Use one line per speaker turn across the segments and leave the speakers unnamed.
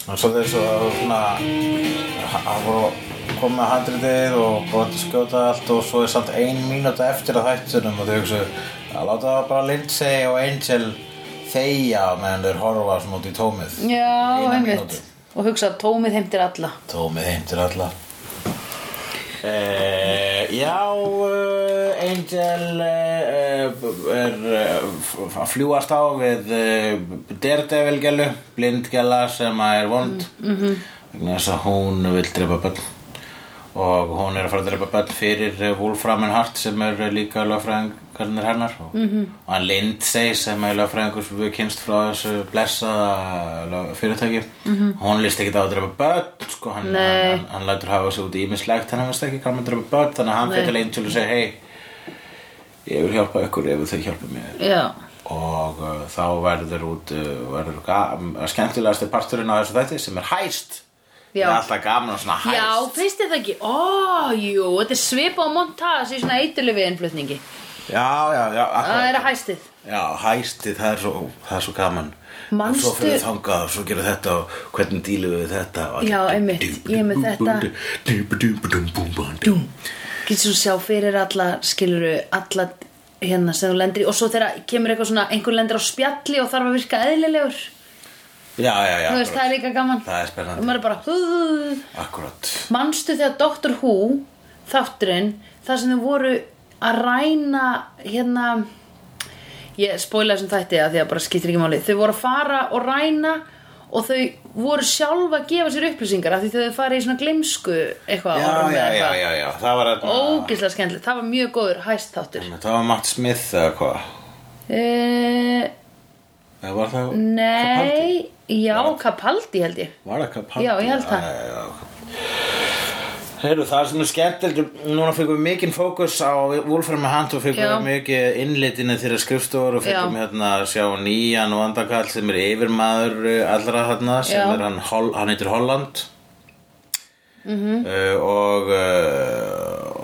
Það er svolítið eins og svona hann voru að koma með handritið og búið að skjóta allt og svo er samt ein mínúta eftir að þættunum og þau hugsa að láta bara Lindsay og Angel þegja meðan þeir horfa svona út í tómið
Já,
Eina
einmitt
mínútu.
Og hugsa að tómið heimtir alla
Tómið heim til alla Uh, já, uh, Angel uh, er uh, að fljúast á við uh, Daredevil-gælu, blindgæla sem að er vond mm vegna þess að hún vil drepa börn og hún er að fara að drepa börn fyrir eh, Wolfram and Hart sem er eh, líka lögfræðingarnir hennar og, mm -hmm. og hann Lindsay sem er lögfræðingur sem við kynst frá þessu blessaða lög- fyrirtæki -hmm. hún líst ekki á að drepa börn sko, hann,
Nei.
hann, hann lætur hafa sig út í ímislegt hann veist ekki hvað maður drepa börn þannig að hann fyrir til Angel og segir hei ég vil hjálpa ykkur ef þau hjálpa mér
Já,
og uh, þá verður út uh, verður ga- skemmtilegasti parturinn á þessu þætti sem er hæst
Já.
það er alltaf gaman og svona hæst
Já finnst þið það ekki? Ó, jú, þetta er svipa á montas í svona eiturlefi innflutningi
Já, já, já,
Það
akkurat.
er að hæstið
já hæsti, það er svo, það er svo gaman
Manstu-
Svo fyrir við þangað og svo gerum við þetta og hvernig dílum við þetta og-
Já, einmitt, ég er með þetta.
Dúm.
Getur svo sjá fyrir alla, skiluru, alla hérna sem þú lendir í og svo þegar kemur eitthvað svona, einhver lendir á spjalli og þarf að virka eðlilegur
Já, já, já,
Þú veist, það er líka gaman
Það er spennandi.
Og maður er bara, hú,
akkurat
Manstu þegar Dr. Who þátturinn, þar sem þau voru að ræna hérna ég spóla þessum þætti að því að bara skiptir ekki máli þau voru að fara og ræna og þau voru sjálfa að gefa sér upplýsingar af því þau fara í svona glimsku eitthvað
Já, já, já, já, já, það var þetta
ógislega skemmtilegt, það var mjög góður hæst þáttur
Það var Matt Smith eða hvað Mm.
uh,
Það var það Capaldi?
Nei Já, Kapaldi held ég
Var það Capaldi?
Já, ég held það.
Já, já, já. Heyrðu, það er svona skemmtilegt, núna fengum við mikinn fókus á Wolfram and Hunt og fengum
Já.
við mikið innlitinu þeirra skrifstofur og fengum
Já.
hérna að sjá nýjan og andakall sem er yfirmaður uh, allra þarna sem
Já.
er hann, Hol- hann heitir Holland
Mhm.
mm og uh,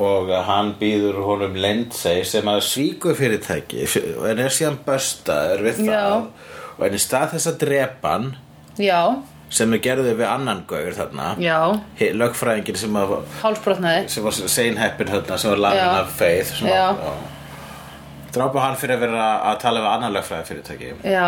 og hann býður honum Lindsay sem að svíku fyrirtæki en er síðan böstaður við
Já.
það og en í stað þess að drepa hann
Já,
sem er gerðið við annan gauður þarna
já,
Hi- lögfræðingin sem, að,
hálsbrotnaði
sem var seinheppin þarna sem var lagin
Já.
af feið sem
Já.
að- já. drápa hann fyrir að vera að tala við annan lögfræði fyrirtæki
Já,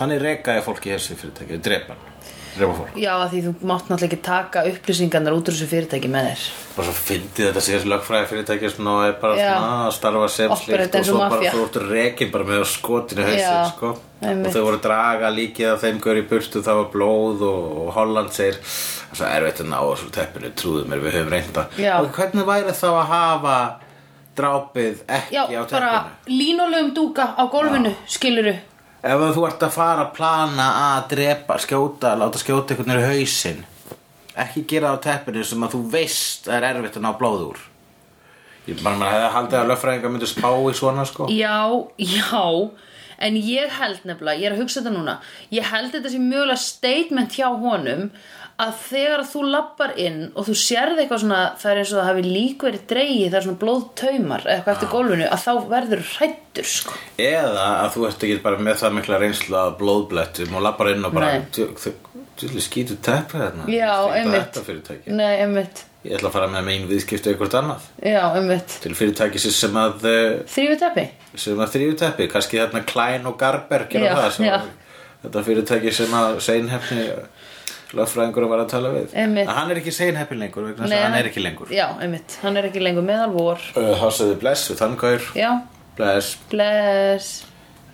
þannig rekaði fólki þessi fyrirtæki drepa hann, drepa fólk
Já, af því þú mátt náttúrulega ekki taka upplýsingarnar út úr þessu fyrirtæki með þér.
bara svo fyndið þetta sé þessi lögfræði fyrirtæki svona og er bara
Já.
svona að starfa sem
Operate
slíkt
eins
og
og
svo bara
mafía.
þú ertu rekin bara með skotinu
Já,
hausinn sko
einmitt.
og þau voru að draga líkið af þeim gaur í burtu það var blóð og, og Holland segir það er svo erfitt að ná þessu úr teppinu trúðu mér við höfum reynda
Já.
og hvernig væri þá að hafa drápið ekki
Já,
á
bara
teppinu
línulegum dúka á gólfinu, skiluru.
ef þú ert að fara að plana að drepa, skjóta, láta skjóta einhvern veginn í hausinn ekki gera það á teppinu sem að þú veist að er erfitt að ná blóð úr ég bara maður hefði haldið að löffræðingar myndi spá í svona sko
Já, já, en ég held nefnilega, ég er að hugsa þetta núna, ég held þetta sem mjögulega statement hjá honum að þegar þú lappar inn og þú sérð eitthvað svona, það er eins og það hafi lík verið dreigið, það er svona blóðtaumar eða eitthvað eftir gólfinu, að þá verður hrættur, sko.
eða að þú ert ekki bara með það mikla reynslu að blóðblettum og lappar inn og bara
Nei.
"Djú- þau djúli skýtu teppið þarna
Já,
Þetta er
einmitt.
þetta fyrirtæki
Nei, einmitt,
ég ætla að fara með megin viðskiptu eitthvað annað
já, einmitt.
til fyrirtæki sem að eh,
Þrýfið teppi?
sem að þrýju teppi, kannski þarna Klein og Garberg
Já,
og það sem
já.
þetta fyrirtæki sem að seinhefni löffræðingur var að tala við
Einmitt.
en hann er ekki seinhefni lengur vegna þess að hann er ekki lengur
Já, einmitt, hann er ekki lengur meðal vor.
Uh, þá sagði bless við þann gaur
Já,
bless
bless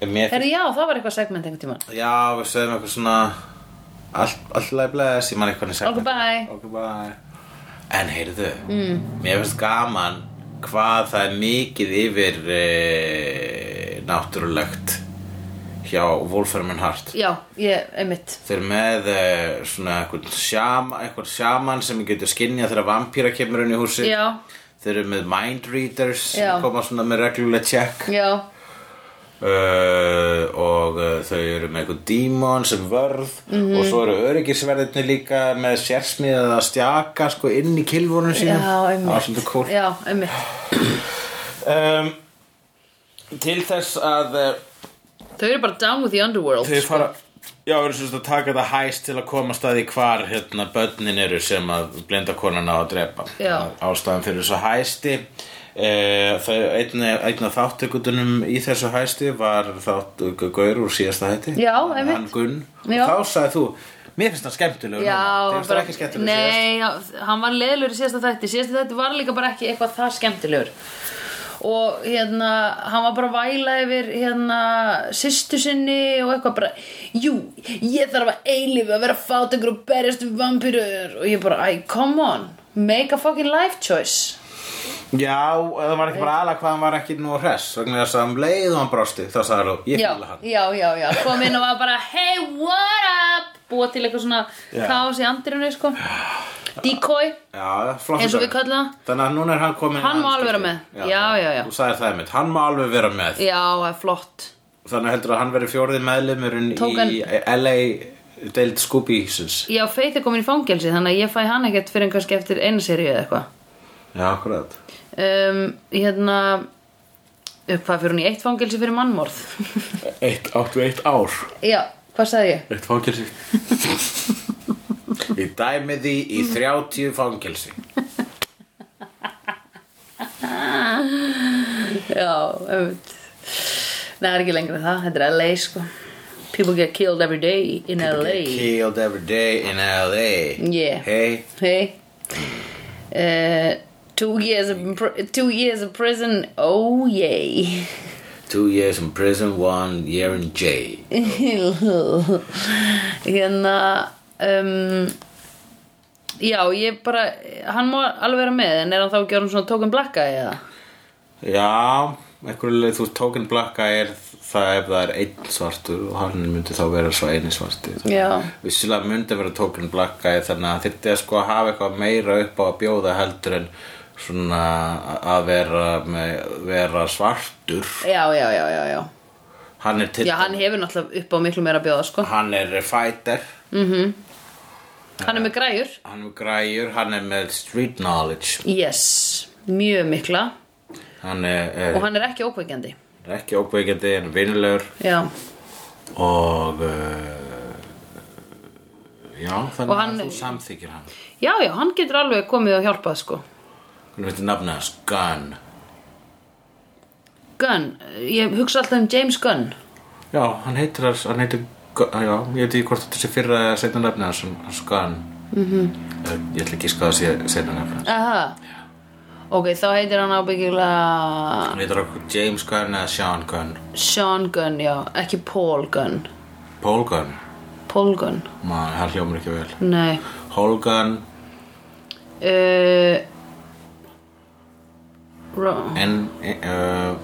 Mér
Herri, já, það var eitthvað segment einhvern tímann
já við segjum eitthvað svona allt, allt bless ég man eitthvað hann
Ok, bye.
okay, bye. en heyrðu mm. mér finnst gaman hvað það er mikið yfir e, náttúrulegt hjá Wolfram and Hart
Já, ég, einmitt
Þeir eru með uh, svona eitthvað sjaman, eitthvað sjaman sem getur skinnja þegar vampýra kemur inn í húsi.
Já,
Þeir eru með mind readers
Já.
sem koma svona með reglulega check.
já,
Uh, og uh, þau eru með eitthvað dímon sem vörð
Mhm.
og svo eru öryggisverðirni líka með sérsmiðið að stjaka sko inn í kilvunum sínum.
já,
Það var
einmitt
svolítið cool.
Já, einmitt
Um, til þess að eh, uh,
Þau eru bara down with the underworld
þau fara Já, við erum svolítið að taka þetta hæst til að koma staði hvar hérna börnin eru sem að blinda konan á að drepa.
Já.
Ástæðan fyrir þessu hæsti, e, einn einn af þáttökundunum í þessu hæsti var þátt Gaur úr síðasta hætti.
Já, einmitt.
Hann Gunn.
Já.
Þá sagði þú, mér finnst það skemmtilegur.
Já,
núna." Þér finnst það
bara-
ekki skemmtilegur síðast.
Nei, já, hann var leðlur í síðasta þætti Síðasta þætti var líka bara ekki eitthvað það skemmtilegur Og hérna Hann var bara að væla yfir hérna Sýstu sinni og eitthvað bara Jú, ég þarf að eilífi Að vera fátengur og berjast við vampýrur Og ég bara, æ, come on Make a fucking life choice
Já, það var ekki bara aðlega hvað hann var ekki nú hress. Þannig að hann leið og hann brosti. Þá sagði þú, ég
já,
fíla hann.
já, já, já, kom inn og var bara Hey, what up Búa til eitthvað svona
Já.
kaos í andirinu sko. Decoy
Já, flott
Eins og
dæmi.
við köllum það.
Þannig að núna er hann komin
Hann má alveg vera með. Já, já, já.
Þú sagðir það einmitt, hann má alveg vera með
Já, það er flott
Þannig heldur að hann veri fjórði meðlimurinn
Tók hann-
í LA deild Scooby-húsins
Já, Faith er komin í fangelsi þannig að ég fæ hann ekkert fyrir en kannski eftir eina seríu eða eitthvað
Já, akkurat
um, Hérna upp hvað fyrir hún í eitt fangelsi fyrir mannmorð
Eitt, áttu eitt ár
Já, hvað sagði ég?
Eitt fangelsi Ég dæmi því í 30 fangelsi
Já, öfnt Nei, það er ekki lengra en það, þetta er LA sko People get killed every day in LA
Killed every day in LA
Yeah.
Hey
Hey uh, Two years, of pr- two years of prison, oh yay
Two years in prison, one year in jail
hérna um, já, ég bara hann má alveg vera með en er hann þá ekki orðin svona tókum blakka eða
Já, einhverju leið, þú veist, Token Blacka er það ef það er einn svartur og hann myndi þá vera svo eini svartur.
Já.
Vissilega myndi vera Token Blacka þannig að þyrfti að sko hafa eitthvað meira upp á að bjóða heldur en svona að vera, með, vera svartur.
já, já, já, já, já
Hann er, til,
já, hann hefur náttúrulega upp á miklu meira að bjóða sko.
hann er fighter,
hann er með græjur
hann er græjur, hann er með street knowledge,
yes, mjög mikla
hann er,
og
er
hann er ekki ókveikjandi
ekki ókveikandi en vinnulegur
já,
og... Uh, Já, þannig
Og hann-
að þú samþykir hann.
já, já, hann getur alveg komið og hjálpað sko.
Hvernig veitir nafna hans? Gunn
Gunn, ég hugsa alltaf um James Gunn
Já, hann heitir hans, hann heitir Gunn- Já, ég veit ekki hvort þetta sé fyrra eða setna nafna hans, hann- hans Gunn mm -hmm. Ég ætla ekki skoða að sé setna nafna hans
aha ok, þá heitir hann ábyggilega
Hann heitir okkur James Gunn eða Sean Gunn
Sean Gunn, já, ekki Paul Gunn
Paul Gunn,
Paul Gunn,
maður, hann hljómar ekki vel
nei
Hall Gunn,
Uh, Ro-
en uh,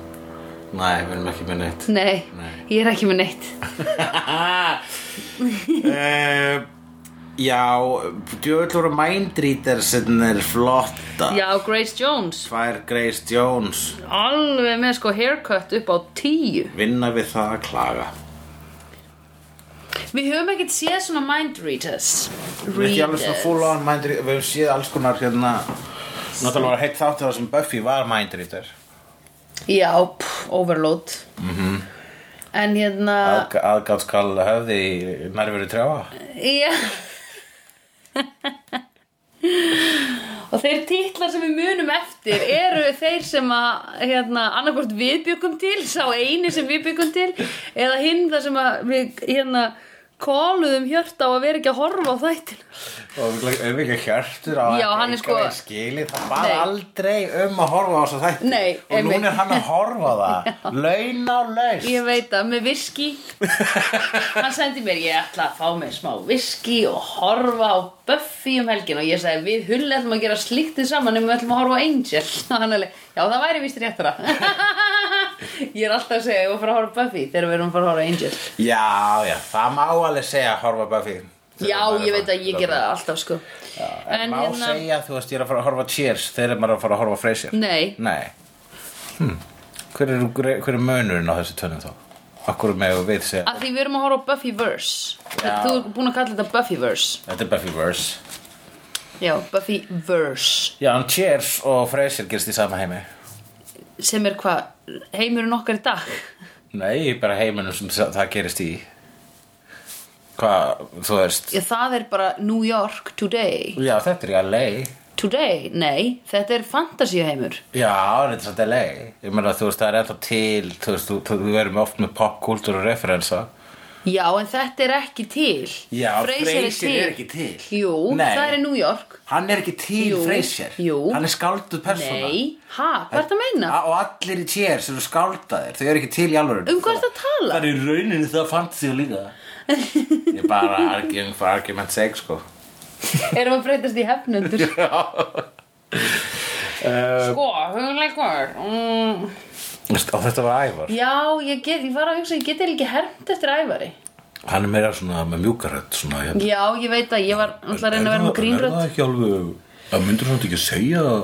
Nei, við erum ekki með neitt
Nei,
Nei.
ég er ekki með neitt
uh, Já, djöðlur og Mindreader sem er flotta
Já, Grace Jones
Tvær Grace Jones
Alveg með sko haircut upp á tíu
Vinna við það að klaga
Við höfum ekkert séð svona mind readers
Við erum ekki alveg svona
Readers.
full on mind reader Við höfum séð alls konar hérna Náttúrulega var heitt þáttu það sem Buffy var mind reader
Já, pff, overload -hmm. En hérna
Aðg- Aðgátt skal höfði í nærveru trjáa
Já Og þeir titlar sem við munum eftir eru þeir sem að hérna, annarkvort við byggum til, sá eini sem við byggum til eða hinn þar sem að við hérna, kóluðum hjörta á að vera ekki að horfa á þættina.
Og við höfum ekki hjartur á
Já, hann er sko-
skili, Það var
Nei.
aldrei um að horfa á þess að þætti
Nei,
Og
einmitt.
núna er hann að horfa á það Laun á laus
Ég veit að með viski, hann sendi mér ég ætla að fá mér smá viski og horfa á Buffy um helgin og ég sagði við hulli ætlum að gera slíktið saman en við ætlum að horfa á Angel og hann alveg, já það væri vist réttara ég er alltaf að segja ég var að fara að horfa á Buffy þegar við erum að fara að horfa á Angel
Já, já, það má alveg segja að horfa á Buffy
já ég veit að ég gera það hérna- alltaf sko
En, má segja, þú veist, ég er að fara að horfa á Cheers Þegar maður er að fara að horfa á Frasier
nei,
Nei hm. hver, er, hver er mönurinn á þessu tönnum þá? Akkur með við segja
að því við erum að horfa á Buffyverse
Já.
þú er búin að kalla þetta Buffyverse
Þetta er Buffyverse
já, Buffyverse
Já, en Cheers og Frasier gerst í sama heimi
sem er hvað, heimurinn okkar í dag
Nei, bara heiminum sem það gerist í Hvað, þú veist
Já, það er bara New York today
Já, þetta er í LA
Today, nei, þetta er fantasíuheimur
Já, þetta er svolítið LA Ég meina, þú veist, það er ennþá til Þú veist, þú, þú, þú verðum oft með popkultúr og referensa
Já, en þetta er ekki til
Já,
Frasier
Frasier er ekki til.
Jú,
Nei.
það er í New York
Hann er ekki til
Jú,
Frasier
jú.
Hann er Ah. skálduð persóna
Nei, ha, hvað er það að meina?
A- Og allir í tér sem eru skáldaðir Þau eru ekki til í alvöru
Um hvað ertu að tala?
Það er í rauninni það fannst þig líka Ég bara arguing for argument sake sko
Erum að breytast í hefnundur?
uh,
Sko, hugleikur mm.
Og þetta var ævar
Já, ég, get, ég var að hugsa, ég geti ekki hermt eftir ævari
Hann er meira svona með mjúkarödd svona, ég,
Já, ég veit að ég var náttúrulega að reyna að vera með
hérna. Er
grínrödd
það ekki alveg, það myndur svona ekki að segja að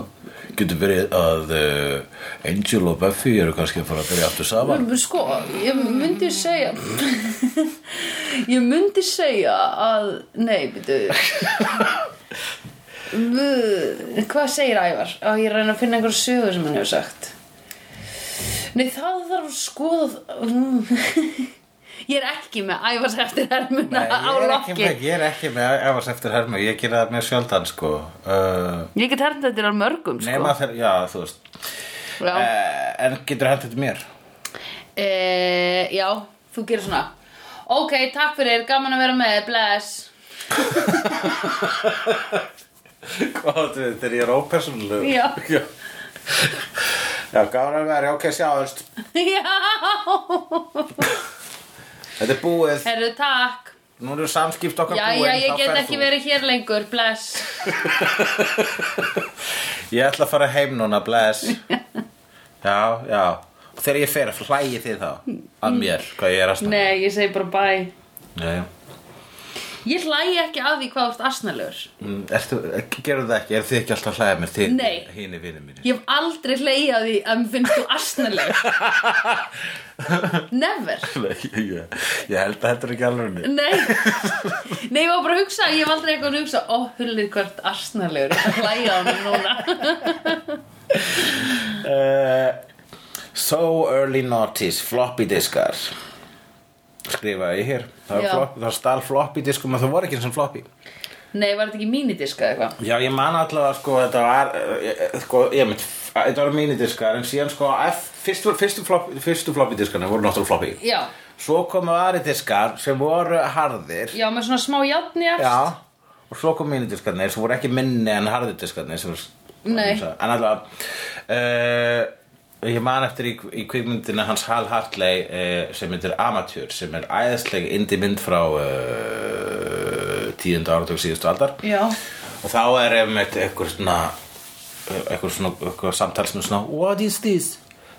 getur verið að uh, Angel og Buffy eru kannski að fara að byrja aftur saman
Sko, ég myndi segja Ég myndi segja að Nei, byrju Vö, Hvað segir Ævar? Að ég reyna að finna einhverja sögu sem hann hefur sagt Nei, það þarf að skoða Mm. Ég er ekki með Ævars eftir hermuna
Nei,
á
ég, er ekki
lokki
með, ég er ekki með efast eftir hermu Ég gera það með sjöldan sko uh,
Ég get hermt eftir á mörgum, sko
Nema þegar, já þú veist
Já,
uh, En getur hægt þetta mér?
e, já þú gerir svona Ok, takk fyrir, gaman að vera með, bless
Hvað áttu við, þegar ég er ópersónulegu?
Já.
Já, já gáður að vera, ok, sjáðust.
Já
Þetta er búið,
Herru, takk
nú eru samskipt okkar
Já,
búin.
já, ég
þá
get
ferð
ekki
þú.
verið hér lengur, bless
Ég ætla að fara heim núna, bless. já, já. Og þegar ég fer, hlægi þið þá að mér, hvað ég er að snakka.
Mm. Nei, ég segi bara bæ
Nei.
Ég hlægi ekki að því hvað þú ert asnalegur
Mm, Ertu, ekki- gerðu það ekki, eru þið ekki alltaf að hlæða mér til
Nei.
hinn í vinum mínir?
Ég hef aldrei hlegið að því að mér finnst þú asnalegur Never
Ég, ég, ég held að þetta er ekki alveg niður.
Nei, nei, ég var bara að hugsa Ég hef aldrei eitthvað að hugsa Ó, hullir hvert asnalegur Ég ætla að hlæja á mér núna
Uh, so early noughties, floppy diskar skrifaði ég hér það,
Já.
var floppy, það stál floppy diskum en það voru ekki eins og floppy
Nei, var þetta ekki mínidiska eða eitthvað?
já ég man allavega sko þetta var eh, sko, ég mynd, þetta var mínidiskar en síðan sko F, fyrstu, fyrstu, floppy, fyrstu floppy diskarna voru náttúrulega floppy
Já,
svo komu aðri diskar sem voru harðir
já, með svona smá játni
Já, og svo kom mínudiskarnir sem voru ekki minni en harðudiskarnir sem voru
Nei.
En allavega uh, Ég man eftir í, í kvikmyndina hans Hal Hartley uh, sem heitir Amateur sem er æðisleg indie mynd frá uh, tíundu áratug síðustu aldar
Já,
og þá er einmitt eitthvað svona eitthvað svona eitthvað samtals með svona What is this?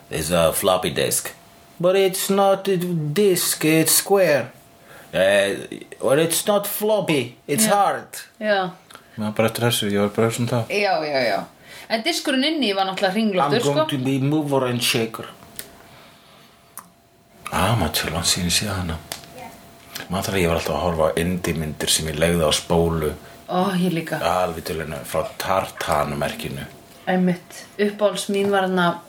It's a floppy disk But it's not a disk, it's square uh, Or it's not floppy, it's hard
já
Já, bara eftir þessu, ég var bara eftir svona það
Já, já, já. En diskurinn inni var náttúrulega
I'm
hringlóttur,
going
sko.
to be mover and shaker Amateur, hann Ah, sýnir síðan hana Maður þarf að ég var alltaf að horfa á indie myndir sem ég legði á spólu
Ó, ég líka.
alveg til hennu frá tartanumerkinu
Einmitt. Uppáhalds mín var hann að,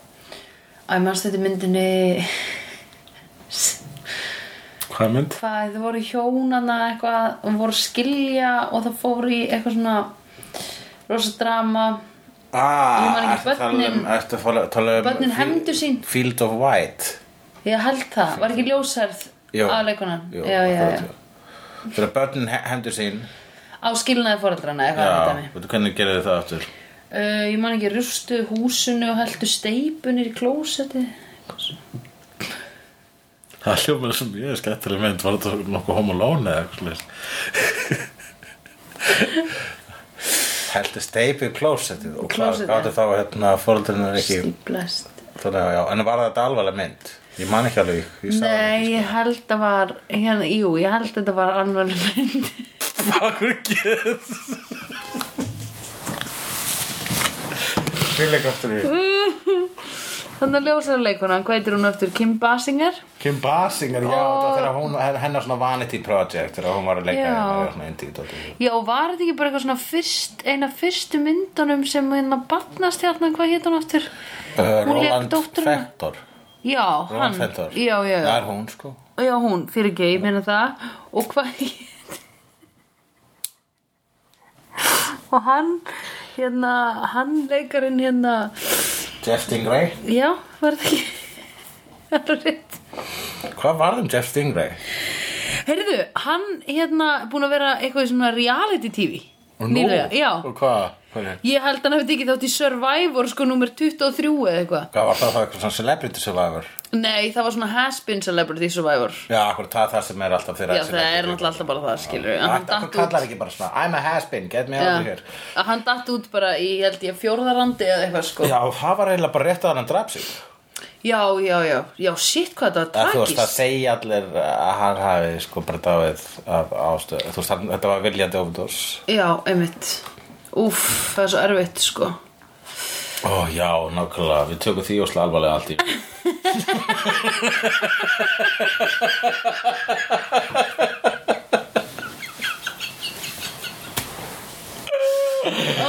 að mannst þetta myndinni,
Hvað mynd?
hvað, þau voru hjónana eitthvað, og voru að skilja og það fóru í eitthvað svona rosa drama. Ég man
Ah,
ekki,
ertu að tala um,
börnin-
ertu að fara- tala um
Börnin
fi-
hefndu sín.
Field of White
Ég held það, var ekki ljósærð
Jó,
aðleikunan.
jú,
Ah, já, já,
akkurat,
já.
já. Þegar börnin he- hefndu sín
Á skilnaði foreldrana eitthvað
Já,
þetta mig.
veitu hvernig gerðu þið það aftur
Uh, ég man ekki rustu húsinu og heldu steipunir í klósetti.
Það hljómaður sem ég er skettileg mynd, var þetta nokkuð homolón eða eitthvað slags?
Heldu steipi í klósettið Og hvað
Klósettið.
gáttu þá hérna fóreldrarnir ekki
Stíplast.
Þannig að já, en var þetta alvarleg mynd? Ég man ekki sko. alveg ég sá hana
Nei, ég held að var hérna, Jú, ég held að þetta var alveg mynd
Akkur get
ekki. Fylg aftur í
Þannig að ljósaður leikuna, hvað heitir hún aftur? Kim Basinger?
Kim Basinger, já, þetta var þegar hún, hennar svona vanity project Þegar hún var að leika
Já.
hennar svona indie
Já, var þetta ekki bara eitthvað svona fyrst, eina fyrstu myndunum sem hérna barnast hérna, hvað heit hún aftur?
Uh,
Hún lék
Roland
dótturina.
Fentor
Já,
Roland
hann
Fentor
Já, já,
Það
já,
er hún sko
já, hún, fyrir ekki, ég meina það Og hvað, og hann hérna, hann leikarinn hérna
Jeff Stingray
já, var það ekki Það er rétt.
Hvað varð um Jeff Stingray?
Heyrðu, hann hérna búin að vera eitthvað í svona reality tv
Og nú?
nýlega, já
Og hvað? Hvað, er-
Ég held hann hafi tekið þátt í Survivor sko nummer 23 eða eitthvað
Hvað var það það eitthvað svona celebrity survivor?
Nei, það var svona has-been celebrity survivor
Já, akkur það er það sem er alltaf þeirra
Já, það er náttúrulega alltaf bara það, skilur við
Akkur datt kallar ekki bara svona I'm a has-been, get me out of here
að hann datt út bara í, ég held ég, fjórðarandi eða eitthvað sko Já,
Já, það var eiginlega bara rétt að hann draf sig
já, já, já, shit hvað þetta
að
var
þú veist að
tragist
segja allir að hann hafi sko bara dáið af ástöð þú veist hann, þetta var viljandi overdós
Já, einmitt Úff, það er svo erfitt sko
ó já, nákvæmlega, við tökum því óslega alvarlega allt í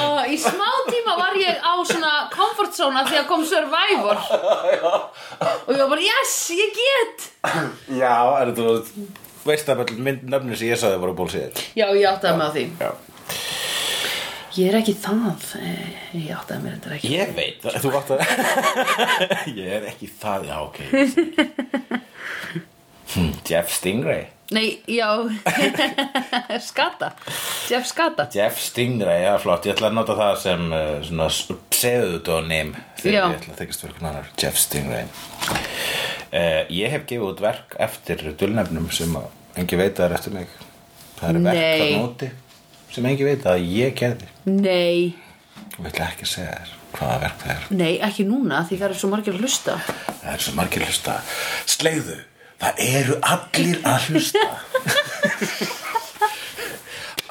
Ó, Í smá tíma var ég á svona comfort zone að því að kom Survivor Og ég var bara, yes, ég get
já, er þú veist að öll mynd nöfnir sem ég sagði voru bólsýðir
Já, ég áttaði mig á því
já
Ég er ekki það eh, Ég áttaði mér þetta ekki
Ég veit það, Þú átt að Ég er ekki það, já ok ég sé ekki. hm, Jeff Stingray
Nei, já Skata Jeff Skata
Jeff Stingray, já flott, ég ætla að nota það sem uh, svona pseudonym
Já.
þegar ég ætla að þykast verið annar Jeff Stingray uh, Ég hef gefið út verk eftir dulnefnum sem að engi veit að er eftir mig Það eru verk
Nei.
þarna úti sem engi veit að ég gerði
Nei,
og ætla ekki að segja þér hvaða verk það er
nei, ekki núna því það eru svo margir að hlusta
Það eru svo margir að hlusta Slegðu, það eru allir að hlusta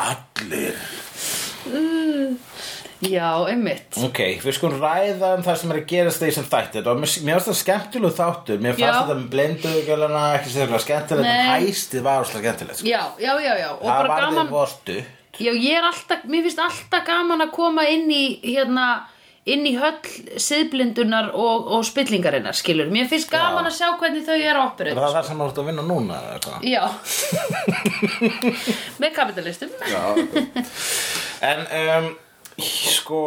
Allir
Já, einmitt
Ok, við skulum ræða um það sem er að gerast þeir sem þætti Þetta var mér mér fannst það skemmtilegu þáttur Mér fannst
Já.
þetta með blinduðugjölana ekki sérlega skemmtilegt En
Nei.
hæstið var óslega skemmtilegt sko.
Já, já, já, já Og
Það
bara
var
gaman
þeir vortu
Já, ég er alltaf, mér finnst alltaf gaman að koma inn í hérna inn í höll siðblindunar og, og spillingarinnar, skilur Mér finnst gaman að sjá hvernig þau eru
Er
operið
það það sem þú ert að vinna núna? eða hvað?
Já Með kapitalistum
En um, sko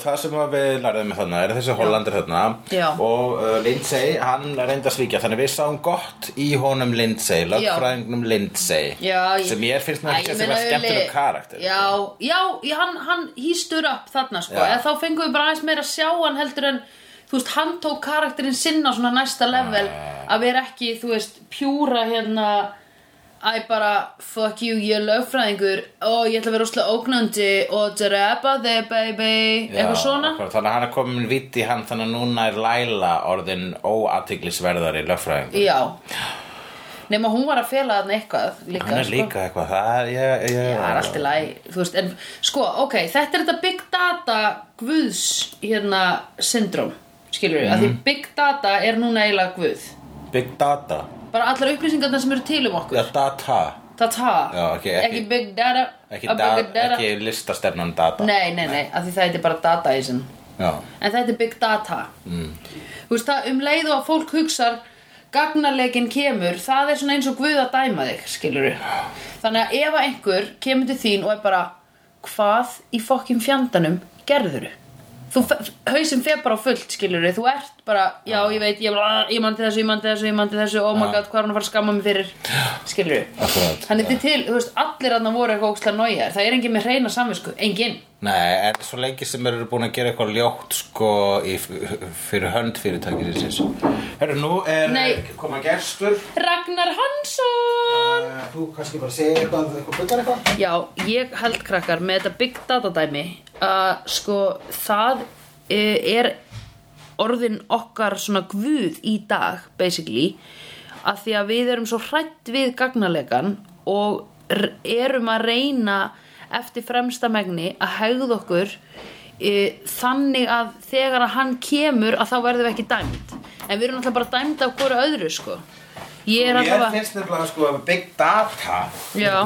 það sem að við lærðum með þarna er þessi Hollandir þarna
Já.
og uh, Lindsay, hann reyndi að svíkja þannig við sáum gott í honum Lindsay lögfræðingnum Lindsay
Já, ég-
sem ég finnst nú
Æ, ég
ekki að það var
meina, Uli-
skemmtileg karakter
Já, já, já, hann, hann hýstur upp þarna sko,
Já.
eða þá fengum við bara aðeins meira að sjá hann heldur en þú veist, hann tók karakterinn sinn á svona næsta level
Ah.
að vera ekki, þú veist, pjúra hérna Æ bara, fuck you, ég er lögfræðingur og ég ætla að vera óslega ógnandi og drepa þig, baby
Já,
eitthvað svona
akkurat. þannig að hann er komin vitt í hann þannig að núna er Laila orðin óathyglisverðari lögfræðing
Já Nefn að hún var að fela þarna eitthvað líka,
hann er
sko.
líka eitthvað það er, ég, ég,
Það er allt í lagi, þú veist, en sko, ok, þetta er þetta big data guðs, hérna, syndróm, skilur við, mm
Mhm.
því big data er núna eiginlega guð.
big data
Bara allar upplýsingarnar sem eru til um okkur,
ja, data
data,
Já, ok,
ekki,
ekki-
big data,
ekki,
a
da,
big data.
ekki listastefnan data
Nei, nei, nei, af því það heitir bara dataism,
Já.
en þetta er big data. Mm. Þú veist, það um leið og að fólk hugsar, gagnarleikin kemur, það er svona eins og guð að dæma þig, skilur við. Þannig að ef að einhver kemur til þín og er bara, hvað í fokkin fjandanum gerður þú? Hauðsinn fer bara á fullt, skilur við, þú ert bara, já, ég veit, ég, bara, ég mandi þessu, ég mandi þessu, ég mandi þessu, oh my god, hvað er hann að fara að skamma mig fyrir, skilur
Akkurat,
við. Þannig þetta er til, þú veist, allir aðna voru eitthvað ókslega nójar, það er engin með hreina samvisku, engin.
Nei, en svo lengi sem eru búin að gera eitthvað ljótt sko í, fyrir hönd fyrirtækið síns Herru, nú er
Nei.
koma gestur
Ragnar Hansson!
Eh, Þú kannski bara segir eitthvað, eitthvað byggar eitthvað
Já, ég held krakkar með þetta big data dæmi að sko það eh, er orðin okkar svona guð í dag basically að því að við erum svo hrætt við gagnalegan og r- erum að reyna eftir fremsta megni að hegða okkur e, þannig að þegar að hann kemur að þá verðum við ekki dæmt en við erum alltaf bara dæmt af hverju öðru sko ég er
Mér
alltaf að
finnst nefnilega sko að big data
Já.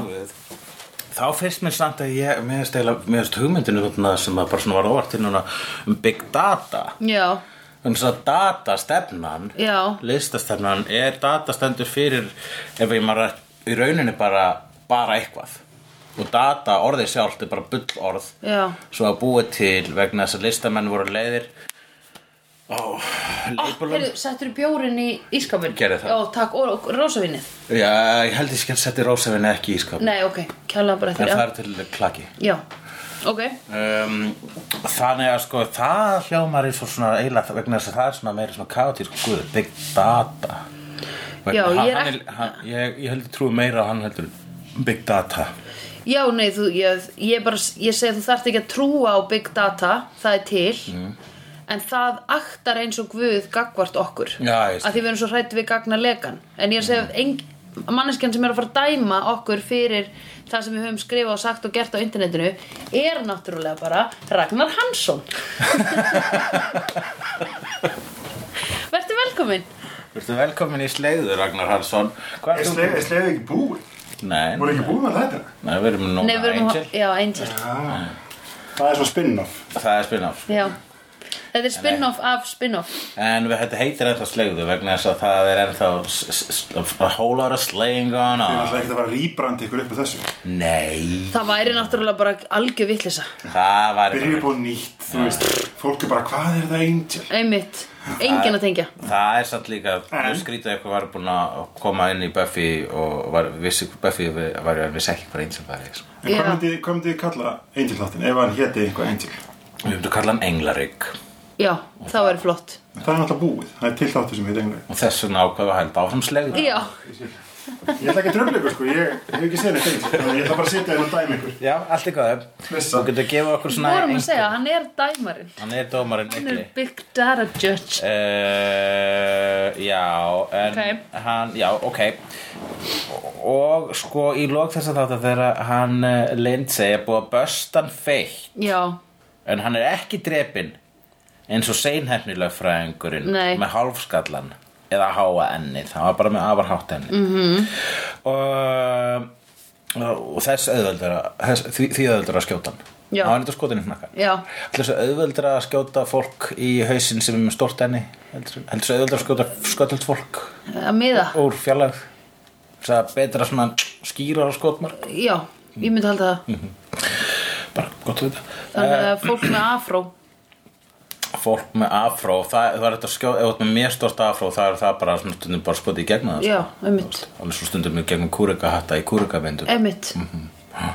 Þá finnst mér samt að ég mér finnst eiginlega- mér finnst hugmyndinu þarna sem að bara svona var óvart til núna um big data
já,
Þannig að datastefnan
Já.
listastefnan er datastendur fyrir ef ég maður í rauninni bara bara eitthvað og data orðið sjálft er bara bull orð
Já.
svo að búið til vegna þess að listamenn voru leiðir á
Oh,
leipulum
settur bjórin í ískapin
Gerði það.
Já, takk, og, og rósavinnið
Já, ég held ég skil að setja rósafinni ekki í skap en
Nei, ok, kjálega bara eftir
það
já.
er til klaki
já, ok
um, Þannig að sko það hljómar eins og svona eiginlega vegna þess að það er svona meira svona kaotísk guður, big data Vegna-
Já, ég er
hann,
ekki-
hann, hann, ég, ég heldur trúi meira að hann heldur big data
Já, nei, þú, ég, ég bara ég segi að þú þarft ekki að trúa á big data það er til
Mm.
en það aktar eins og guð gagvart okkur
Já, ég
að
skil.
því við erum svo hrætt við gagna legan en ég er að segja mm. manneskjan sem er að fara að dæma okkur fyrir það sem við höfum skrifað og sagt og gert á internetinu er náttúrulega bara Ragnar Hansson Vertu velkomin
Vertu velkomin í sleiður, Ragnar Hansson Hvað
Er
er
sleið er sleið ekki búið?
Nei,
Voru ekki búið með þetta?
nei, við erum núna
Nei, við erum
Angel
Já, Angel
Já. Það er svo spinn-off.
Það er spin-off
Já. Þetta er spin-off af spin-off
En við þetta heitir ennþá slegðu vegna þess að það er ennþá s- s- s- a whole lot of slaying going
Þið er
on
alltaf ekkert að fara að rýbrandi ykkur upp á þessu.
Nei,
Það væri náttúrulega bara algjör vittlisa
það var
Byrja upp á nýtt, þú veist. Fólk er bara, hvað er það Angel?
Einmitt, engin að tengja
Það er satt líka mjög
En?
skrítið að eitthvað var búin að koma inn í Buffy og var, vissi hvað Buffy við- var en vissi ekki hvað einn sem var sko.
En hvað
Já.
myndi, hvað myndi þið kalla Angel þáttinn ef hann héti eitthvað Angel?
Við höfum að kalla hann Englarík
Já, það væri flott
En Það er alltaf búið. Það er til þáttu sem heit Englarík.
og þess vegna ákveða að hælda áfram slegðu
Já,
Ég ætla ekki að tröfla ykkur sko, ég ég hef ekki séð neitt Angel. Þannig að ég ætla bara að sitja hérna og dæma ykkur.
Já, allt í góðu
Vissa.
Þú getur að gefa okkur svona
vorum að
einhver-
segja, hann er dæmarinn
Hann er dómarinn
Hann er
ykli
Big Data Judge
Uh, já, en
Ok.
hann, já, ok og sko í lók þess að þátt að þegar hann uh, Lindsay er búið að böstan feitt
Já,
en hann er ekki drepin eins og seinhefnilögfræðingurinn
Nei.
með hálfskallan eða háa ennið, hann var bara með afar hátt ennið mm
Mhm.
-hmm. og, og þess auðveldara þess, því, því auðveldara að skjóta hann
Já.
hann var neitt að skota inn í hnakkan
Já.
Heldur þessu auðveldra að skjóta fólk í hausinn sem er með stort enni heldur heldur þessu auðveldra að skjóta sköldult fólk
að miða
úr fjarlæg þess að betra svona skýrar á skotmark
Já, ég myndi halda
Mm.
það
bara gott að vita
Þannig
Eh.
að fólk með afró
fólk með afró það, það er þetta skjóð, ef þú ert með mjög stort afró það er það bara svona stundum bara skotið í gegnum það sko.
Já, einmitt,
alveg svo stundum í gegnum kúrikahatta í kúrikavindur
einmitt
Mhm. ah,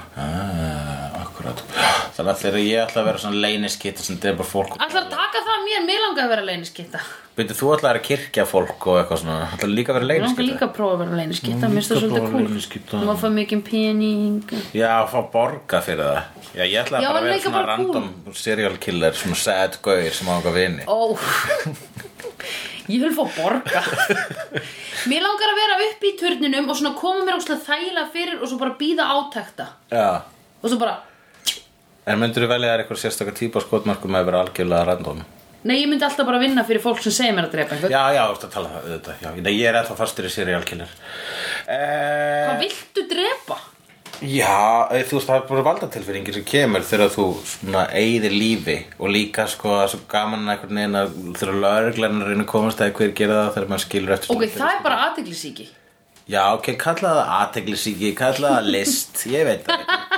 akkurat þannig að þegar ég ætla að vera svona leyniskitt sem þetta er bara fólk
Ætlar að taka það að mér, mér langar að vera leyniskitta
Byrju, þú ætla að kirkja fólk og eitthvað svona Það ætla líka að vera
Mér langar
leyniskitt
líka að prófa að vera leyniskitta
Mm,
Mér finnst það
líka að
svolítið
prófa leyniskytta.
cool Má fá mikið pening
Já, fá borga fyrir það Já, ég ætlaði
Já, en
bara að vera
líka
svona
bara
random serial killer, svona sad gaur sem á okkar vini
Ó, ég vil fá borga Mér langar að vera upp í turninum og svona koma mér óslega þæla fyrir og svo bara býða átekta
Já,
og svo bara,
en myndur þú velja þær eitthvað sérstakar típa skotmarkum að vera algjörlega random
nei ég myndi alltaf bara vinna fyrir fólk sem segir mér að drepa einhvern
Já, já, þú ert að tala það auðvitað Já, nei, ég er ennþá fastur í serial killer eh,
Hvað viltu drepa?
Já, eh, þú veist, það er bara valdatilfinningi sem kemur þegar þú svona eigðir lífi og líka sko að svo gaman einhvern veginn að þegar lögreglarinn er að reyna að komast að hver gera það þegar maður skilur eftir
Ok,
svona-
það er bara aðteglisíki
Já, ok, kalla það aðteglisíki, kalla það list, ég veit það ekki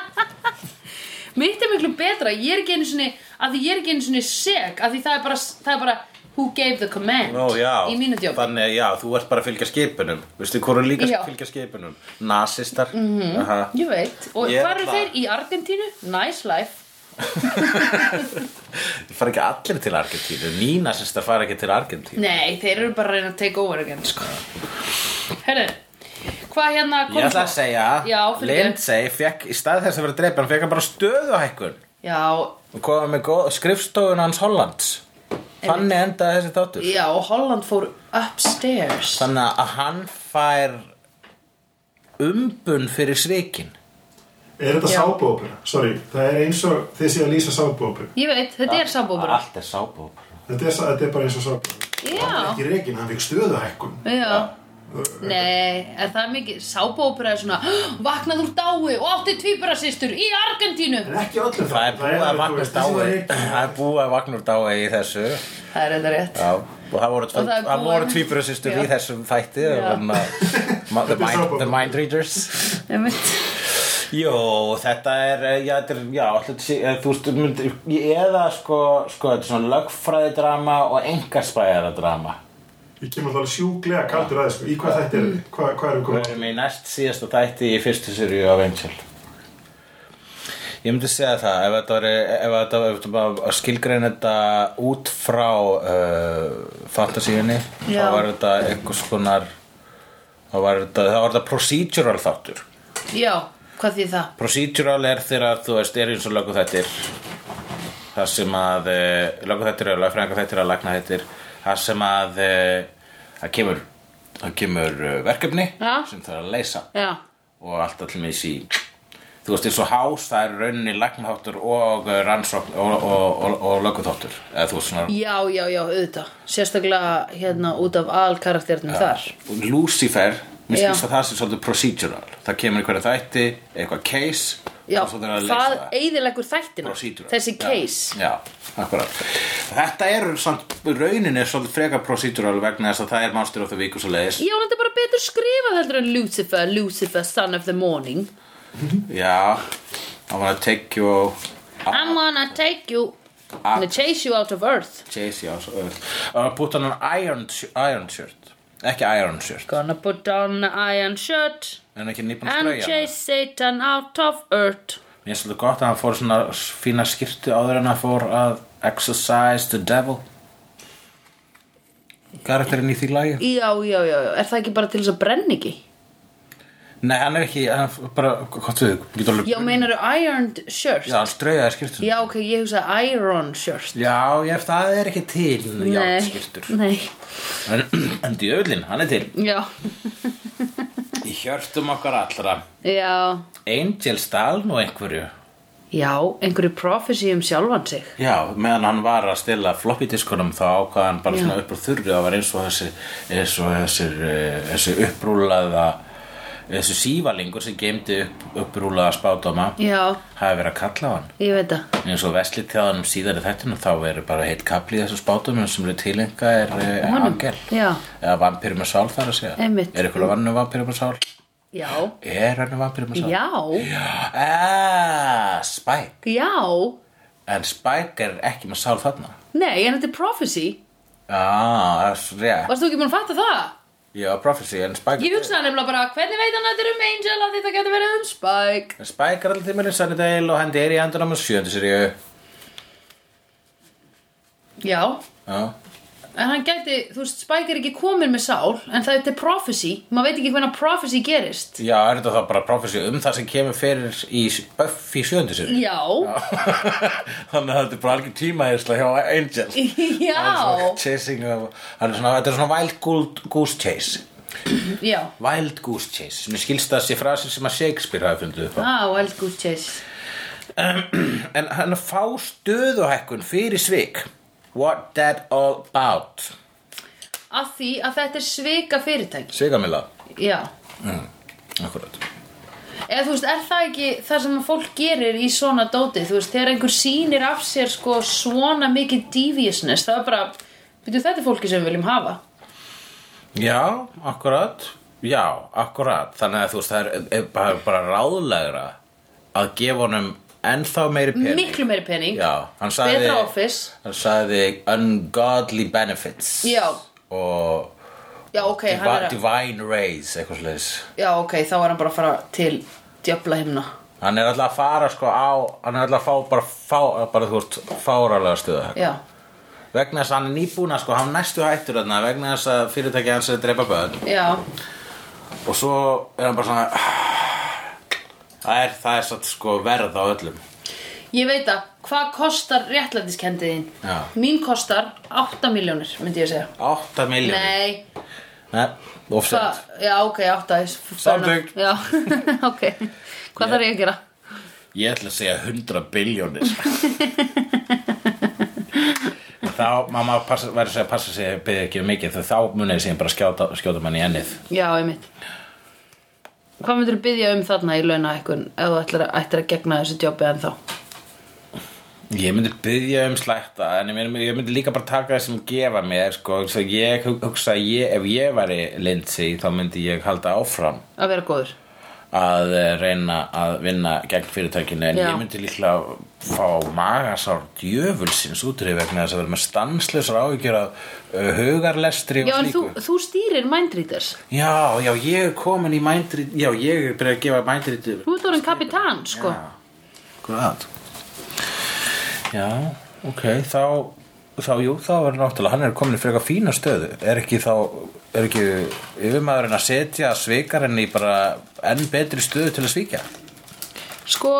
Mitt er miklu betra, ég er ekki einu sinni að því ég er ekki einu sinni seg að því það er bara, það er bara who gave the command
Ó, já,
í mínu djópi
Þannig, að, já, þú ert bara að fylgja skipunum Veistu hvort er
Já.
líka
Mhm.
að fylgja skipunum? Nasistar mm -hmm.
Ég veit, og
Ég er
hvað eru
alltaf-
þeir í Argentínu? Nice life
Það fara ekki allir til Argentínu Nínasistar fara ekki til Argentínu
Nei, þeir eru bara að reyna að take over again sko. Herru Hvað hérna kom
Ég ætla að
svo?
segja
Já, fyrirgefðu.
Lindsay fekk, í stað þess að vera dreipin fekk hann bara stöðuhækkun
Já,
og komið með góð, skrifstofuna hans Hollands Þannig endaði þessi þáttur
já, og Holland fór upstairs
Þannig að hann fær umbun fyrir svikin
Er þetta
Já.
sápuópera? Sorry, það er eins og þið séu að lýsa sápuópera.
Ég veit, þetta
Ah,
er sambófur
Allt er sábóbra
Þetta er, þetta er bara eins og sápuópera.
ah,
Já,
Ekki Regin, hann fekk stöðuhækkun.
já Nei, er það er mikið Sábófra er svona Vaknað úr dái og átti tvíburasýstur í Argentínu
En ekki öllum
Það er búið að
þú
vakna úr dái Það er búið að vakna úr
veist, þessi var Regin.
dái í þessu
Það er þetta rétt
Já, og það voru,
Og það er
það
búið-
voru tvíburasýstur í
Já.
þessum þætti
Já.
um, uh, ma- the,
Þetta er
mind,
sápa.
the Mind Readers
Ég veit
Jó, þetta er, eh, já, þetta er, já, alltaf, þú veist, mynd, eða sko, sko, þetta er svona lögfræðidrama og engarspæðaradrama.
Ég kemur alveg sjúklega kaldur aðeins sko. Í hvað þetta er, hvað, hvað erum
Við
við komið?
erum í næst síðasta þætti í fyrstu sérju af Angel. Ég myndi segja það, ef þetta var, ef þetta var, ef þetta var að skilgreina þetta út frá uh, fantasíunni, þá
Já.
var þetta einhvers konar, þá var þetta, þá var þetta procedural þáttur.
já, hvað því það?
Procedural er þegar þú veist, er eins og lögu þettir Það sem að eh, lögu þettir er lögfræðingar þettir að lagna þettir Það sem að e, það kemur, það kemur eh, verkefni
Ja.
sem það er að leysa
Já,
og allt allir með sí Þú veist, eins og hás, það er í rauninni lagnaháttur og eh, rannsókn og, og, og, og löguþáttur eða þú veist svona
já, já, já, auðvitað Sérstaklega hérna út af alkarakternum þar
Lucifer, mér
Já.
skilst að það sé svolítið procedural Það kemur í hverju þætti, eitthvað case
Já,
og svo þeir að leysa
það eyðilegur þættina
Procedural.
Þessi
Já,
case
Já, akkurat Þetta er samt, raunin er svolítið frekar procedural vegna þess að það er Monster of the Week og svo leiðis
Já, en þetta er bara betur skrifað heldur en Lucifer, Lucifer, son of the morning
Já, I wanna take you Ah.
I'm gonna take you I'm gonna chase you out of earth
Chase, já, svo öll Og put on an iron, sh- iron shirt Ekki iron shirt
Gonna put on an iron shirt
En ekki nýbúin að
And
strauja
chase Satan out of earth
Mér er svolítið gott að hann fór svona fína skirtu áður en hann fór að exercise the devil Karakterinn í því lagi
Já, já, já, já, er það ekki bara til þess að brenna ekki?
Nei, hann er ekki, hann er bara, hvað þú, getur alveg
Já, meinaru ironed shirt?
Já, hann straujaði skirtu
Já, ok, ég hugsa iron shirt
Já, ég, það er ekki til
Nei,
játskirtur
Nei,
En, en djöðlinn, hann er til
já,
Í hjörtum okkar allra
já
Angel stal nú einhverju
Já, einhverju prophecy um sjálfan sig
Já, meðan hann var að stila floppy diskunum þá ákvað hann bara
Já.
svona upp úr þurri það var eins og þessi, eins og þessir, eh, þessi upprúlaða þessi sívalingur sem geimdi upp, upprúlaða spádóma
Já,
hafi verið að kalla á hann
ég veit það
eins og vesli tjáðanum síðar í þættunum þá er bara heitt kapli í þessu spátumum sem eru tilenga er uh,
Honum.
angel
Já.
eða vampýri með sál þar að segja
Einmitt.
er eitthvað vannu vampýri með sál
Já,
er hann vampýri með sál
já,
Ah, Spike
já
en Spike er ekki með sál þarna
Nei, en þetta er prophecy
ah, það er rétt
Varst þú ekki búin að fatta það?
já, prophecy en Spike
Ég hugsaði nefnilega bara, hvernig veit hann að þetta er um Angel að þetta getur verið um Spike
en Spike er alltaf tímurinn Sunnydale og hendi er í handunum og sjöndu sér ég
Já,
já
en hann gæti, þú veist, Spike er ekki komin með sál En það þetta er prophecy, maður veit ekki hvernig prophecy gerist
Já, er þetta þá bara prophecy um það sem kemur fyrir í Buffy sjöndu sér?
Já,
Þannig að þetta er bara algjör tímaðisla hjá Angel
já,
Chasing of, hann er svona, Þetta er svona wild gold- goose chase
já
Wild goose chase Mér skilst það sé frasi sem að Shakespeare hafi fundið upp á
Á, Wild Goose Chase
En hann fá stöðuhækkun fyrir svik What that all about
Af því að þetta er svika fyrirtæki
Svikamilla
Já
Akkurat
Eða þú veist, er það ekki það sem að fólk gerir í svona dóti Þú veist, þegar einhver sýnir af sér sko svona mikið deviousness Það er bara, veitum þetta er fólki sem við viljum hafa
Já, akkurat Já, akkurat Þannig að þú veist það er, er bara, bara ráðlegra að gefa honum ennþá meiri pening
Miklu meiri pening
Já, hann sagði
Betra office
Hann sagði ungodly benefits
Já.
Og
Já, ok, hann
divi
er að
divine rays, eitthvað sliðis
Já, ok, þá er hann bara að fara til djöfla himna
Hann er alltaf að fara sko á Hann er alltaf að fá bara, fá, bara þú veist fáralega stöða
Já,
Vegna þess að hann er nýbúna sko Hann næstu hættur þarna Vegna þess að fyrirtæki hans er að dreipa börn
já,
Og svo er hann bara svona "Ah, Það er, það er satt sko verð á öllum
ég veit að Hvað kostar réttlætiskendiðin?
Já.
Mín kostar 8 miljónir, myndi ég segja
8 miljónir
Nei, Sko-
Nei,
Hva,
ofsett
já, ok, átta þess
Samþykkt.
Já, ok Hvað þarf ég að gera?
Ég ætla að segja 100 biljónir Þá, mamma passa, verður að segja passa sig byrði ekki um mikið þegar þá munið þið síðan bara skjóta, skjóta mann í ennið
Já, einmitt Hvað myndirðu byggja um þarna í launa eitthvað ef þú ætlar að, ætlar að gegna þessu jobbi en þá?
Ég myndi byggja um slætta en ég myndi, ég myndi líka bara taka það sem gefa mér sko, svo ég hug- hugsa að ég, ef ég væri Lindsay þá myndi ég halda áfram
Að vera góður
að eh, reyna að vinna gegn fyrirtækinu en
Já.
ég myndi líklega fá magasár djöfulsins útrið vegna þess að vera með stansleysar áhyggjur af uh, hugarlestri
Já,
og
en þú,
slíku
þú stýrir Mindreaders
Já, já, ég er komin í mændrið Já, ég er byrjað að gefa mændrið
Þú ert orðin kapitán, sko
Hvað? Já, ok, þá þá, jú, þá er náttúrulega hann er komin í frekar fína stöðu er ekki þá, er ekki yfirmaðurinn að setja svikarinn í bara enn betri stöðu til að svíkja
Sko,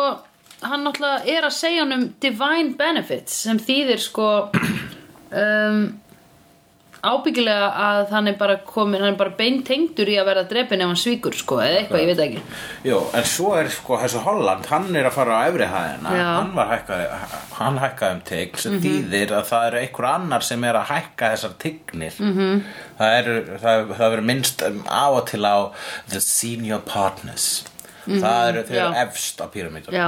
hann náttúrulega er að segja hann um Divine Benefits sem þýðir sko um, ábyggilega að hann er bara komin, hann er bara beintengdur í að verða drepin ef hann svíkur, sko, eða eitthvað, ég veit ekki
Jó, en svo er sko þessu Holland, hann er að fara á efri hæðina
Já. Mhm.
hann var hækkaði, hann hækkaði um tigg sem þýðir að það eru einhver annar sem er að hækka þessar tignir -hmm.
Mhm.
það eru, það, það verður minnst um, á og til á the senior partners það eru, þau eru
Mhm, já.
efst á píramítur
Já,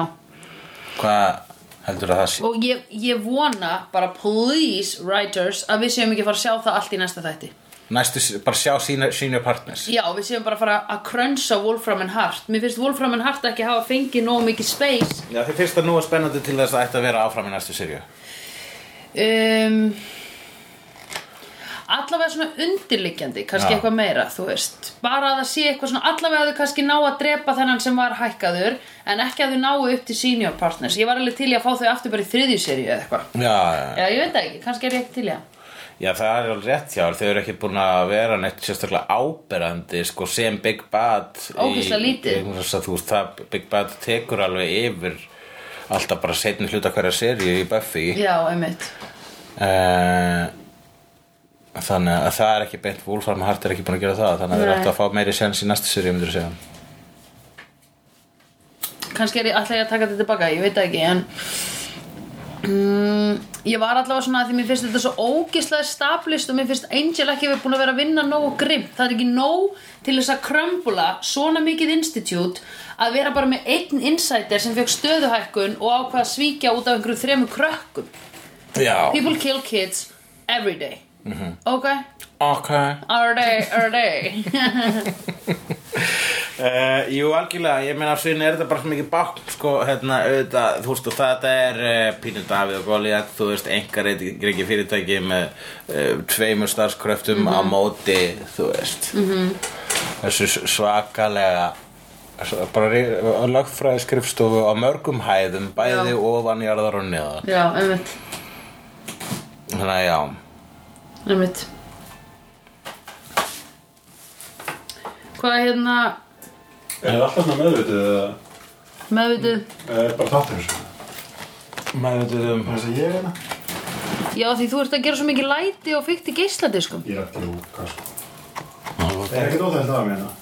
hvað heldur að það sé?
og ég, ég vona bara please writers að við séum ekki að fara að sjá það allt í næsta þætti
næstu, bara sjá senior, senior partners
Já, við séum bara að fara að krönsa Wolfram and Hart Mér finnst Wolfram and Hart ekki hafa fengið nóg mikið space
Já, þið finnst það nú að spennandi til þess að ætti að vera áfram í næstu sirju
um, allavega svona undirliggjandi kannski
Já.
eitthvað meira, þú veist bara að það sé eitthvað svona, allavega að þau kannski ná að drepa þennan sem var hækkaður en ekki að þau náu upp til senior partners ég var alveg til í að fá þau aftur bara í þriðju serju eða eitthvað
Já, já, já
Já, ég veit það ekki, kannski er ég ekki til í það
Já, það er alveg rétt hjá þér. Þau eru ekki búin að vera neitt sérstaklega áberandi sko, sem Big Bad í-
Ógeðslega lítið.
í- vegna þess að Þú veist, það Big Bad tekur alveg yfir alltaf bara setni hluta hverja seríu í Buffy
Já, einmitt
yeah. Þannig að það er ekki beint Wolfram Hart er ekki búin að gera það Þannig að það
Nei.
er alltaf að fá meiri sens í næstu seríu myndir að segja
kannski er ég alltaf að taka þetta tilbaka, ég veit það ekki en mm, ég var allavega svona að því mér finnst þetta svo ógislega stablist og mér finnst Angel ekki hefur búin að vera að vinna nógu grimt, það er ekki nóg til þess að krömbula svona mikið institute að vera bara með einn insider sem fekk stöðuhækkun og ákvað að svíkja út af einhverjum þremur krökkum
Já,
people kill kids every day ok,
ok
all day, all day
Uh, jú, algjörlega, ég meina síðan er þetta bara svo mikið bátt, sko, hérna, auðvitað, þú veist, og þetta er uh, Pínu Davíð og Goliath, þú veist, engar reyngi fyrirtæki með uh, tveimur starfskröftum á móti, þú veist, -hmm. þessu s- svakalega, s- bara rí- lögfræði skrifstofu á mörgum hæðum, bæði
Já.
ofan jarðar og neðar,
já, einmitt,
þannig að já,
einmitt hvað hérna
Er það alltaf svona meðvitið eða
meðvituð
er bara þáttur þessu?
maður veitum um,
Það er þess að ég er hérna?
Já, því þú ert að gera svo mikið læti og fykti geisladiskum
Ég er ekki lúka, sko. Það er ekkert óþægt að mér hérna.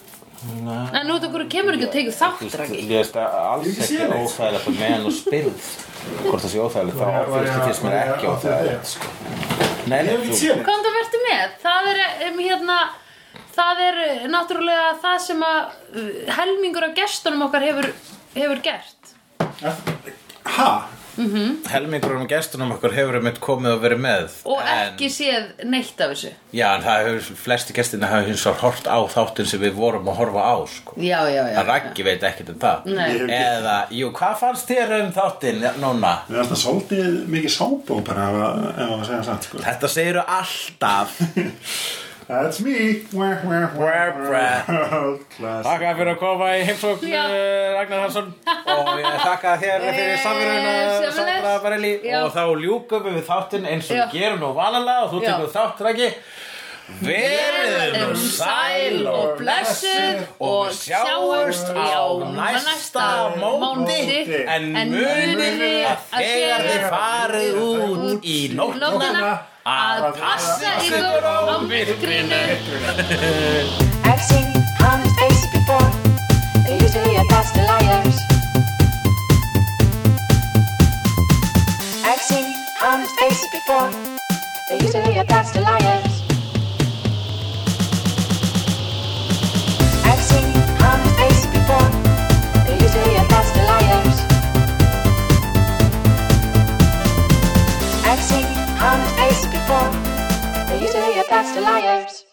En nú þetta okkur kemur ekki að teka þátt, Raki
Ég veist að alls
Ég sé
ekki
neitt.
óþægilegt að meðan og spyrð hvort það sé óþægilegt þá
Var ég- var
fyrst
ég-
ekki sem er
var ég
ekki
átti við
óþægilegt
þig?
sko. Nei,
Ég
nei,
hef ekki
þú,
séð neitt.
Komdu vertu með, það er um, hérna Það er eh, náttúrulega það sem að eh, helmingur af gestunum okkar hefur, hefur gert
Ha?
helmingurinn um gestunum okkur hefur einmitt komið og verið með
Og
en,
ekki séð neitt af þessu
Já, en það hefur, flesti gestina hafa hins og hort á þáttinn sem við vorum að horfa á sko.
Já, já, já
Það Raggi veit ekkert um það
Nei.
Ég hef ekki-
Eða, jú, hvað fannst þér um þáttinn núna?
Það er alltaf svolítið mikið sábópera ef að ef að segja satt, sko.
Þetta segiru alltaf
That's me. Wah, wah,
Wah, wah.
Class.
Takk fyrir að koma í heimsókn
Já.
eh, Ragnar Hansson og ég þakka þér fyrir
Eh,
samverðuna
sömuleiðis.
Sandra Barelli
Já.
og þá ljúkum við þáttinn eins og
Já.
við gerum nú vanalega og þú
Já.
tekur þátt rækki Verið
Erum
nú sæl og blessuð og sjáumst á næsta móti
móti.
en
En
munið
munið
að
að
þegar
þegar
þið farið út í nóttina
Nóttina að passa ykkur á myrkrinu
I've seen honest faces before. They're usually a pass to liars. I've seen honest faces before. They're usually a pass to liars. I've seen honest faces before. They're usually a pass to liars. I've seen honest faces before. They're usually a pass to liars.